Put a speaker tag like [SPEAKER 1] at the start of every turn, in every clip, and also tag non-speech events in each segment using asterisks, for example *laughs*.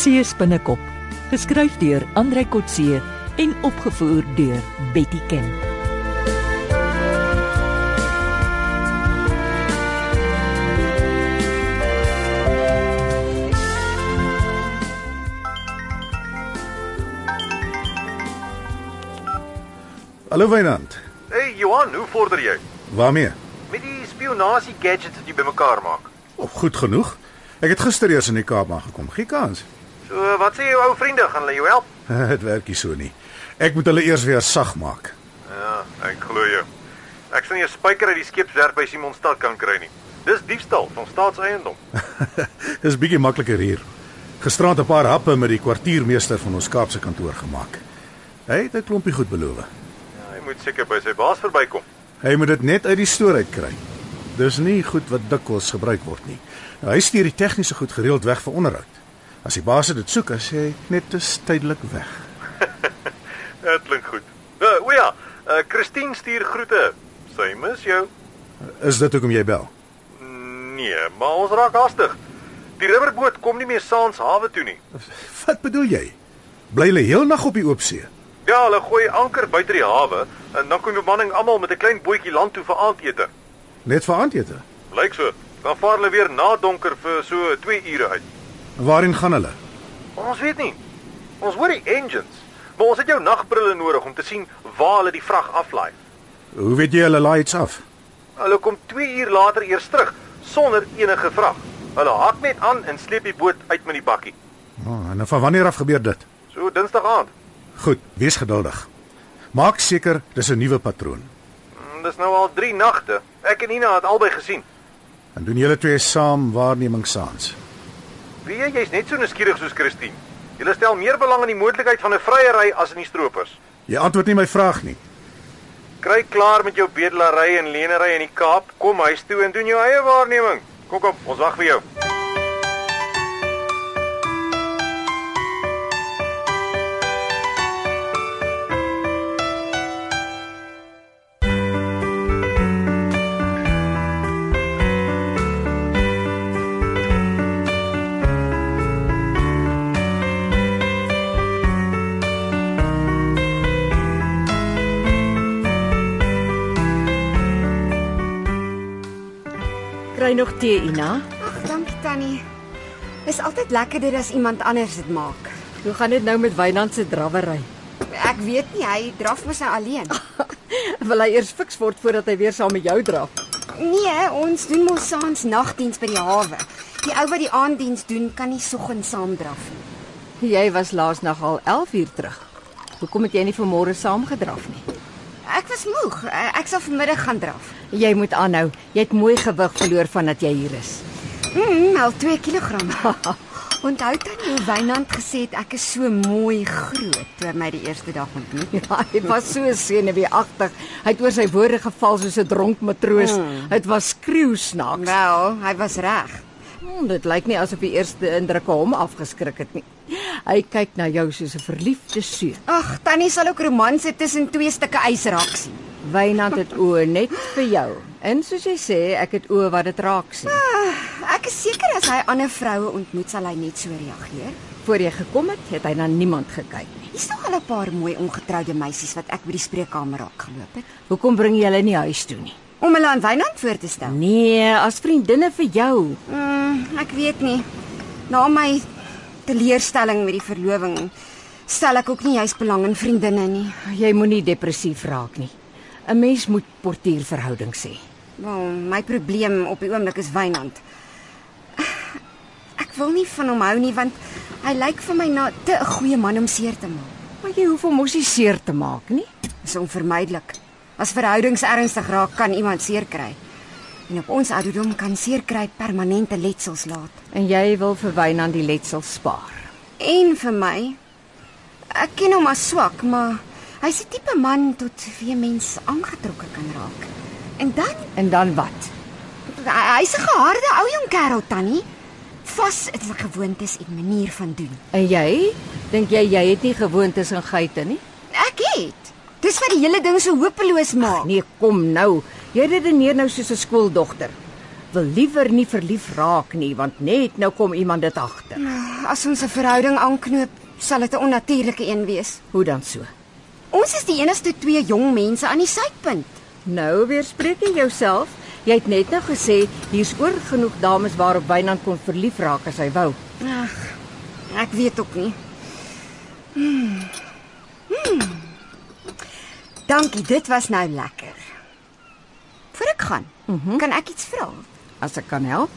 [SPEAKER 1] See se binnekop, geskryf deur Andrei Kotse en opgevoer deur Betty Ken.
[SPEAKER 2] Hallo Wynand.
[SPEAKER 3] Hey Johan, hoe vorder jy?
[SPEAKER 2] Waarmee?
[SPEAKER 3] Met die spionasie gadgets wat jy bymekaar maak.
[SPEAKER 2] Oh, goed genoeg. Ek het gister eers in die Kaap aangekom. Gee kans. *laughs*
[SPEAKER 3] So, wat sê jou ou vriende, gaan hulle jou help?
[SPEAKER 2] Dit werk nie so nie. Ek moet hulle eers weer sag maak. *laughs*
[SPEAKER 3] Ja, ek glo jou. Ek sien jy spyker uit die skeepswerf by Simonstad kan kry nie. Dis diefstal van staatseiendom.
[SPEAKER 2] Dis bietjie makliker hier. Gisterand 'n paar happe met die kwartiermeester van ons Kaapse kantoor gemaak. Hy het 'n klompie goed beloof.
[SPEAKER 3] Ja, hy moet seker by sy baas verbykom.
[SPEAKER 2] Hy moet dit net uit die stoor uitkry. Dis nie goed wat dikwels gebruik word nie. Nou, hy stuur die tegniese goed gereeld weg vir onderhoud. As die baas dit soek, as hy net dis tydelik weg.
[SPEAKER 3] Ja, Dit klink goed. Uh, o ja, uh, Christine stuur groete. Sy mis jou.
[SPEAKER 2] Is dit hoekom jy bel?
[SPEAKER 3] Nee, maar ons raak haastig. Die rubberboot kom nie meer saans hawe toe nie.
[SPEAKER 2] Wat bedoel jy? Bly hulle heel nag op die oop see?
[SPEAKER 3] Ja, hulle gooi anker buite die hawe en dan kom die bemanning almal met 'n klein bootjie land toe vir aandete.
[SPEAKER 2] Net vir aandete.
[SPEAKER 3] Lyk so. Dan vaar hulle weer na donker vir so 2 ure uit.
[SPEAKER 2] Waarheen gaan hulle?
[SPEAKER 3] Ons weet nie. Ons hoor die engines, maar ons het jou nagbrille nodig om te sien waar hulle die vrag aflaai.
[SPEAKER 2] Hoe weet jy hulle laai iets af?
[SPEAKER 3] Hulle kom 2 uur later eers terug sonder enige vrag. Hulle haak net aan en sleep die boot uit met die bakkie.
[SPEAKER 2] Oh, en van wanneer af gebeur dit?
[SPEAKER 3] So Dinsdag aand.
[SPEAKER 2] Goed, wees geduldig. Maak seker dis 'n nuwe patroon.
[SPEAKER 3] Mm, Dis nou al 3 nagte. Ek en Ina het albei gesien.
[SPEAKER 2] En doen julle twee saam waarneming saans.
[SPEAKER 3] Wie jy jy's net so nuuskierig soos Christine. Jy stel meer belang in die moontlikheid van 'n vryery as in die stroopers.
[SPEAKER 2] Jy antwoord nie my vraag nie.
[SPEAKER 3] Kry klaar met jou bedelary en lenery in die Kaap. Kom huis toe en doen jou eie waarneming. Kom kom, ons wag vir jou.
[SPEAKER 4] Kry nog tee, Ina.
[SPEAKER 5] Ag, dankie Tannie. Dis altyd lekkerder as iemand anders dit maak.
[SPEAKER 4] Hoe gaan dit nou met Wynand se drawery?
[SPEAKER 5] Ek weet nie, hy draf mos nou alleen.
[SPEAKER 4] *laughs* Wil hy eers fiks word voordat hy weer saam met jou draf?
[SPEAKER 5] Nee, ons doen mos saans nagdiens by die hawe. Die ou wat die aanddiens doen, kan nie soggens saam draf nie.
[SPEAKER 4] Jy was laas nag al 11 uur terug. Hoekom het jy nie vanmôre saam gedraf nie?
[SPEAKER 5] Ek was moeg. Eh, Ek sal vanmiddag gaan draf.
[SPEAKER 4] Jy moet aanhou. Jy het mooi gewig verloor vandat jy hier is. *laughs*
[SPEAKER 5] Mm, al 2 kg. Onthou tannie hoe Wynand gesê het ek is so mooi groot toe hy my die eerste dag ontmoet.
[SPEAKER 4] Ja, hy was so senuweeagtig. Hy het oor sy woorde geval soos 'n dronk matroos. Dit was skreeusnaaks.
[SPEAKER 5] Wel, hy was reg.
[SPEAKER 4] Hmm, dit lyk nie asof die eerste indrukke hom afgeskrik het nie. Hy kyk na jou soos 'n verliefde seun.
[SPEAKER 5] Ag, tannie sal ook romanse tussen twee stukke ys raak sien.
[SPEAKER 4] Wynand het oë net vir jou. En soos jy sê, ek het oë wat dit raak sien.
[SPEAKER 5] Ek is seker as hy ander vroue ontmoet sal hy net so reageer.
[SPEAKER 4] Voor jy gekom het, het hy na niemand gekyk nie.
[SPEAKER 5] Hier's nog al 'n paar mooi ongetroude meisies wat ek by die spreekkamer raak geloop het
[SPEAKER 4] Hoekom bring jy hulle nie huis toe nie?
[SPEAKER 5] om hulle aan Wynand voor te stel.
[SPEAKER 4] Nee, as vriendinne vir jou.
[SPEAKER 5] Mm, ek weet nie. Na my teleurstelling met die verloving stel ek ook nie juis belang in vriendinne nie.
[SPEAKER 4] Jy moenie depressief raak nie. 'n Mens moet portierverhoudings hê.
[SPEAKER 5] Wel, my probleem op die oomblik is Wynand. Ek wil nie van hom hou nie want hy lyk vir my na te 'n goeie man om seer te maak.
[SPEAKER 4] Maar jy hoef hom mos nie seer te maak nie.
[SPEAKER 5] Dis onvermydelik. As verhoudings ernstig raak, kan iemand seer kry. En op ons ouderdom kan seer kry permanente letsels laat.
[SPEAKER 4] En jy wil vir Wynand die letsel spaar.
[SPEAKER 5] En vir my. Ek ken hom as swak, maar hy's die tipe man tot wie mense aangetrokke kan raak. En dan
[SPEAKER 4] En dan wat?
[SPEAKER 5] hy- hy's 'n geharde ou jong kerel tannie. Vas in sy gewoontes en manier van doen.
[SPEAKER 4] En jy? Dink jy jy het nie gewoontes en geite nie?
[SPEAKER 5] Ek het. Dis wat die hele ding so hopeloos maak.
[SPEAKER 4] Nee, kom nou. Jy redeneer nou soos 'n skooldogter. wil liewer nie verlief raak nie, want net nou kom iemand dit agter.
[SPEAKER 5] As ons 'n verhouding aanknoop, sal dit 'n onnatuurlike een wees.
[SPEAKER 4] Hoe dan so?
[SPEAKER 5] Ons is die enigste twee jong mense aan die suidpunt.
[SPEAKER 4] Nou weer spreek jy jouself. Jy het net nou gesê hier's oor genoeg dames waarop Wynand kon verlief raak as hy wou.
[SPEAKER 5] Ag, ek weet ook nie. Hmm. Hmm. Dankie, dit was nou lekker. Voor ek gaan, mm -hmm. kan ek iets vra?
[SPEAKER 4] As ek kan help.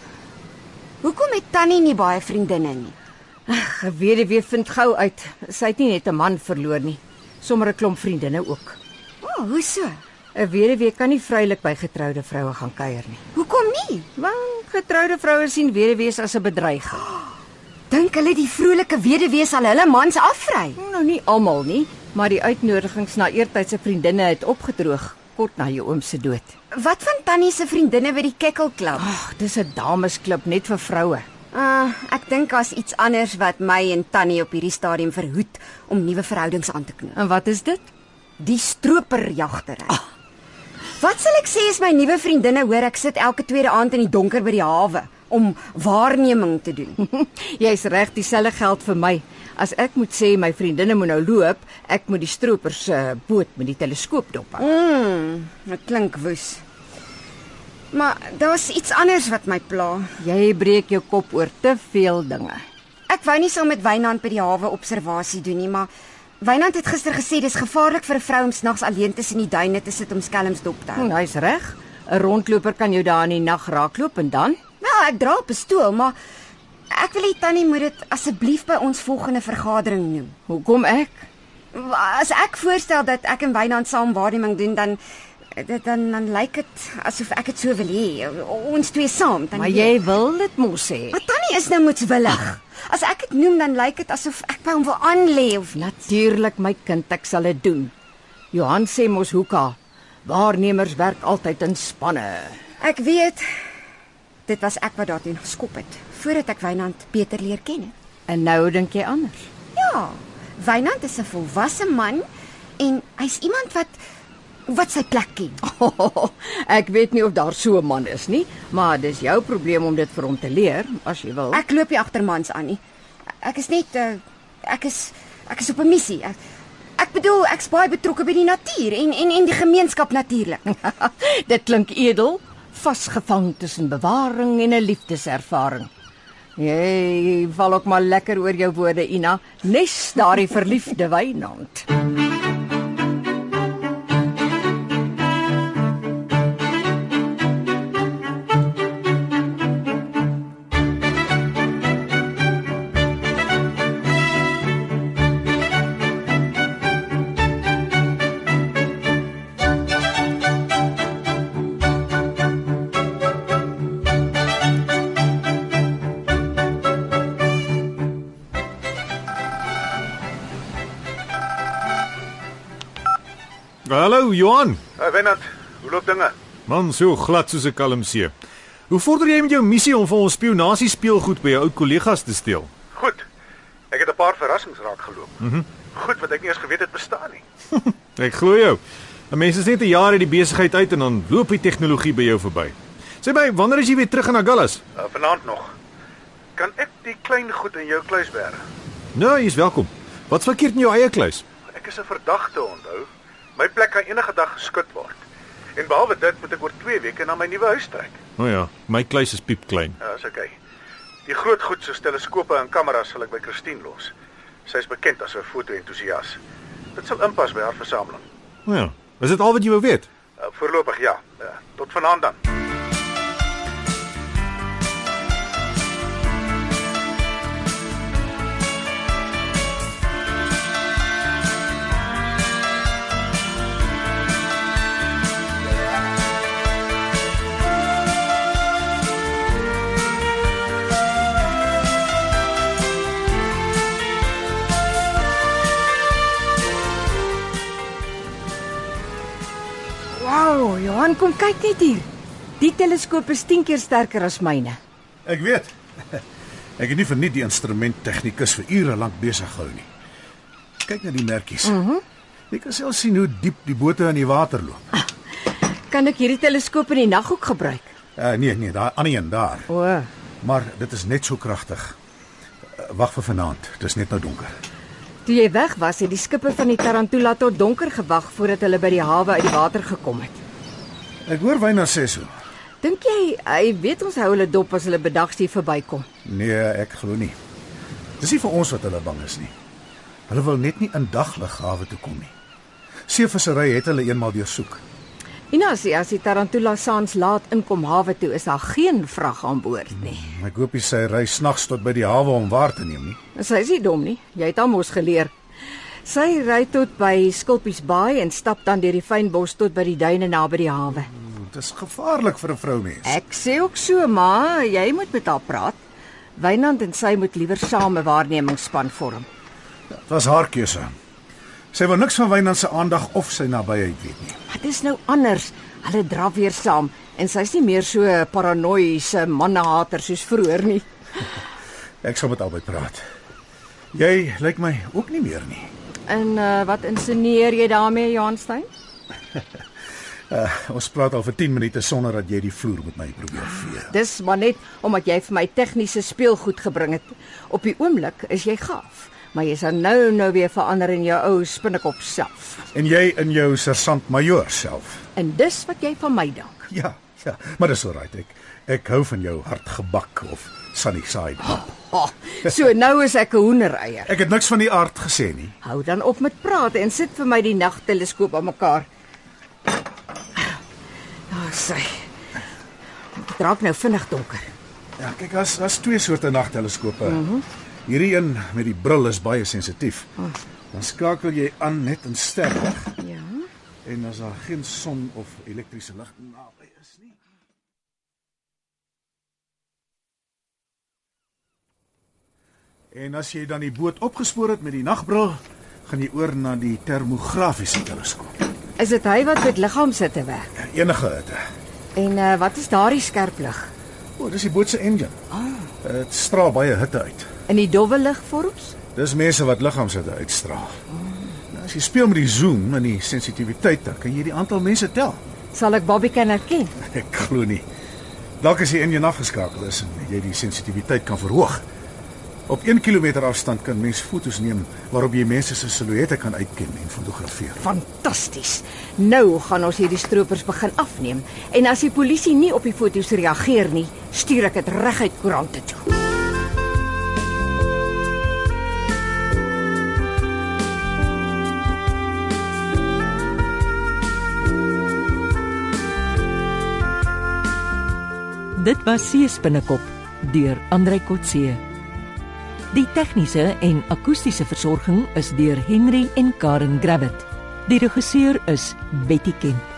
[SPEAKER 5] Hoekom het Tannie nie baie vriendinne nie?
[SPEAKER 4] Geweduwee vind gou uit. Sy het nie net 'n man verloor nie, sommer 'n klomp vriendinne ook.
[SPEAKER 5] O, oh, hoe so?
[SPEAKER 4] 'n Weduwee kan nie vrylik by getroude vroue gaan kuier nie.
[SPEAKER 5] Hoekom nie?
[SPEAKER 4] Want getroude vroue sien weduwees as 'n bedreiging.
[SPEAKER 5] Dink hulle die vrolike weduwee sal hulle mans afvry?
[SPEAKER 4] Nou nie almal nie, maar die uitnodigings na eertydse vriendinne het opgedroog kort na jou oom se dood.
[SPEAKER 5] Wat van Tannie se vriendinne by die Kekkelklub?
[SPEAKER 4] Ag, dis 'n damesklub net vir vroue.
[SPEAKER 5] Uh, ek dink daar's iets anders wat my en Tannie op hierdie stadium verhoed om nuwe verhoudings aan te knoop.
[SPEAKER 4] En wat is dit?
[SPEAKER 5] Die stroperjagtery. Wat sal ek sê as my nuwe vriendinne hoor ek sit elke tweede aand in die donker by die hawe om waarneming te doen?
[SPEAKER 4] *laughs* Jy's reg, dieselfde geld vir my. As ek moet sê my vriendinne moet nou loop, ek moet die stroopers se uh, boot met die teleskoop dop. hou.
[SPEAKER 5] Mm, dit klink woes. Maar daar's iets anders wat my pla.
[SPEAKER 4] Jy breek jou kop oor te veel dinge.
[SPEAKER 5] Ek wou nie saam met Wynand by die hawe observasie doen nie, maar Wynand het gister gesê dis gevaarlik vir 'n vrou om snags alleen tussen die duine te sit om skelms dop te hou.
[SPEAKER 4] Hm, Hy's reg. 'n Rondloper kan jou daar in die nag raakloop en dan
[SPEAKER 5] Wel, ek dra 'n pistool, maar ek wil hê Tannie moet dit asseblief by ons volgende vergadering noem.
[SPEAKER 4] hoekom ek?
[SPEAKER 5] As ek voorstel dat ek en Wynand saam waarneming doen, dan dit dan dan lyk dit asof ek dit so wil hê. O- Ons twee saam, dan
[SPEAKER 4] Maar jy wil dit mos sê.
[SPEAKER 5] Maar Tannie is nou moetswillig. As ek dit noem, dan lyk dit asof ek by hom wil aanlê of
[SPEAKER 4] Natuurlik my kind, ek sal dit doen. Johan sê mos hoeka. Waarnemers werk altyd in spanne.
[SPEAKER 5] Ek weet dit was ek wat daarteen geskop het voordat ek Wynand beter leer ken het.
[SPEAKER 4] En nou dink jy anders.
[SPEAKER 5] Ja, Wynand is 'n volwasse man en hy's iemand wat wat sy plek ken.
[SPEAKER 4] Oh, *laughs* ek weet nie of daar so 'n man is nie, maar dis jou probleem om dit vir hom te leer as jy wil.
[SPEAKER 5] Ek loop nie agter mans aan nie. Ek is net uh, ek is ek is op 'n missie. Ek, ek bedoel ek's baie betrokke by die natuur en en en die gemeenskap natuurlik.
[SPEAKER 4] *laughs* Dit klink edel, vasgevang tussen bewaring en 'n liefdeservaring. Jy val ook maar lekker oor jou woorde, Ina. Nes daardie verliefde Wynand.
[SPEAKER 6] Hallo Johan.
[SPEAKER 3] Hey, Wennard, Eh, hoe loop dinge?
[SPEAKER 6] Man, so glad soos 'n kalm see. Hoe vorder jy met jou missie om vir ons spionasie speelgoed by jou ou kollegas te steel?
[SPEAKER 3] Goed. Ek het 'n paar verrassings raak geloop. Mhm. Mm Goed wat ek nie eens geweet het bestaan nie.
[SPEAKER 6] Ek glo jou. 'n Mens is net 'n jaar uit die besigheid uit en dan loop die tegnologie by jou verby. Sê my, wanneer is jy weer terug in Agallas?
[SPEAKER 3] Uh, vanaand nog. Kan ek die klein goed in jou kluis bera?
[SPEAKER 6] Nou, jy's welkom. Wat's verkeerd in jou eie kluis?
[SPEAKER 3] Ek is 'n verdagte, onthou. My plek kan enige dag geskit word. En behalwe dit moet ek oor 2 weke na my nuwe huis trek.
[SPEAKER 6] O oh ja, my kluis is piepklein.
[SPEAKER 3] Ja, is oké. Die groot goed soos teleskope en kameras sal ek by Christine los. Sy is bekend as 'n foto-entoesias. Dit sal inpas by haar versameling.
[SPEAKER 6] O ja, is dit al wat jy wou weet?
[SPEAKER 3] Uh, voorlopig ja. Uh, tot vanaand dan.
[SPEAKER 4] Wow, Johan, kom kyk net hier. Die teleskoop is 10 keer sterker as myne.
[SPEAKER 2] Ek weet. *laughs* Ek het nie verniet die instrument tegnikus vir ure lank besig gehou nie. Kyk na die merkies. Mhm. Mm jy kan self sien hoe diep die bote in die water loop.
[SPEAKER 4] Kan ek hierdie teleskoop in die nag ook gebruik?
[SPEAKER 2] Uh, nee, nee, daai ander een daar.
[SPEAKER 4] O,
[SPEAKER 2] Maar dit is net so kragtig. Uh, Wag vir vanaand. Dit is net nou donker.
[SPEAKER 4] toe jy weg was, het die skipper van die Tarantula tot donker gewag voordat hulle by die hawe uit die water gekom het.
[SPEAKER 2] Ek hoor Wynand sê so.
[SPEAKER 4] Dink jy hy weet ons hou hulle dop as hulle bedags hier verbykom?
[SPEAKER 2] Nee, ek glo nie. Dis nie vir ons wat hulle bang is nie. Hulle wil net nie in dagliggawe toe kom nie. Seevissery het hulle eenmal deursoek.
[SPEAKER 4] Ina sê as die Tarantula saans laat inkom hawe toe, is daar geen vrag aan boord nie.
[SPEAKER 2] Ek hoop hy sy ry snags tot by die hawe om waar te neem nie.
[SPEAKER 4] Sy is nie dom nie. Jy het almos geleer. Sy ry tot by Skulpies Baai en stap dan deur die fynbos tot by die duine naby die hawe.
[SPEAKER 2] Dit is gevaarlik vir 'n vroumens.
[SPEAKER 4] Ek sê ook so, maar jy moet met haar praat. Wynand en sy moet liewer same waarnemingsspan vorm.
[SPEAKER 2] Dit was haar keuse. Sy wil niks van Wynand se aandag of sy nabyheid weet nie.
[SPEAKER 4] Maar dit is nou anders. Hulle draf weer saam en sy's nie meer so 'n paranoïese mannehater soos vroeër nie.
[SPEAKER 2] Ek sal met albei praat. Jy lyk my ook nie meer nie.
[SPEAKER 4] En uh, wat insinieer jy daarmee, Johanstein?
[SPEAKER 2] Uh, ons praat al vir 10 minute sonder dat jy die vloer met my probeer vee.
[SPEAKER 4] Dis maar net omdat jy vir my tegniese speelgoed gebring het. Op die oomblik is jy gaaf, maar jy's nou nou weer verander in jou ou spinnekop self.
[SPEAKER 2] En jy in jou sergeant-majoor self.
[SPEAKER 4] En dis wat jy van my dink.
[SPEAKER 2] *laughs* Ja, ja, maar dis alright. Ek ek hou van jou hartgebak of sunny side. up.
[SPEAKER 4] Oh, so nou is ek 'n hoendereier.
[SPEAKER 2] Ek het niks van die aard gesê nie.
[SPEAKER 4] Hou dan op met praat en sit vir my die nagteleskoop aan mekaar. Daar sê. Dit raak nou vinnig donker.
[SPEAKER 2] Ja, kyk, daar's daar's twee soorte nagteleskope. Mm -hmm. Hierdie een met die bril is baie sensitief. Dan skakel jy aan net in sterlig
[SPEAKER 4] Ja.
[SPEAKER 2] en as daar geen son of elektriese lig naby is nie. En as jy dan die boot opgespoor het met die nagbril, gaan jy oor na die termografiese teleskoop.
[SPEAKER 4] Is dit hy wat met liggaam sit te werk?
[SPEAKER 2] Enige hitte.
[SPEAKER 4] En uh, wat is daardie skerp lig?
[SPEAKER 2] O, oh, dis die boot se engine. Ah. Dit straal baie hitte uit.
[SPEAKER 4] In die dowwe ligvorms?
[SPEAKER 2] Dis mense wat liggaamshitte uitstraal. Nou, as jy speel met die zoom en die sensitiwiteit, dan kan jy die aantal mense tel. *laughs*
[SPEAKER 4] Sal ek Bobby kan herken?
[SPEAKER 2] Ek glo nie. Dalk as die engine afgeskakel is en jy die sensitiwiteit kan verhoog. Op 1 km afstand kan mens fotos neem waarop jy mense se silhouette kan uitken en fotografeer.
[SPEAKER 4] Fantasties. Nou gaan ons hierdie stroopers begin afneem en as die polisie nie op die foto's reageer nie, stuur ek dit reguit koerante toe.
[SPEAKER 1] Dit was Seespinnekop deur Andrei Kotse. Die tegniese en akoestiese versorging is deur Henry en Karen Gravett. Die regisseur is Betty Kemp.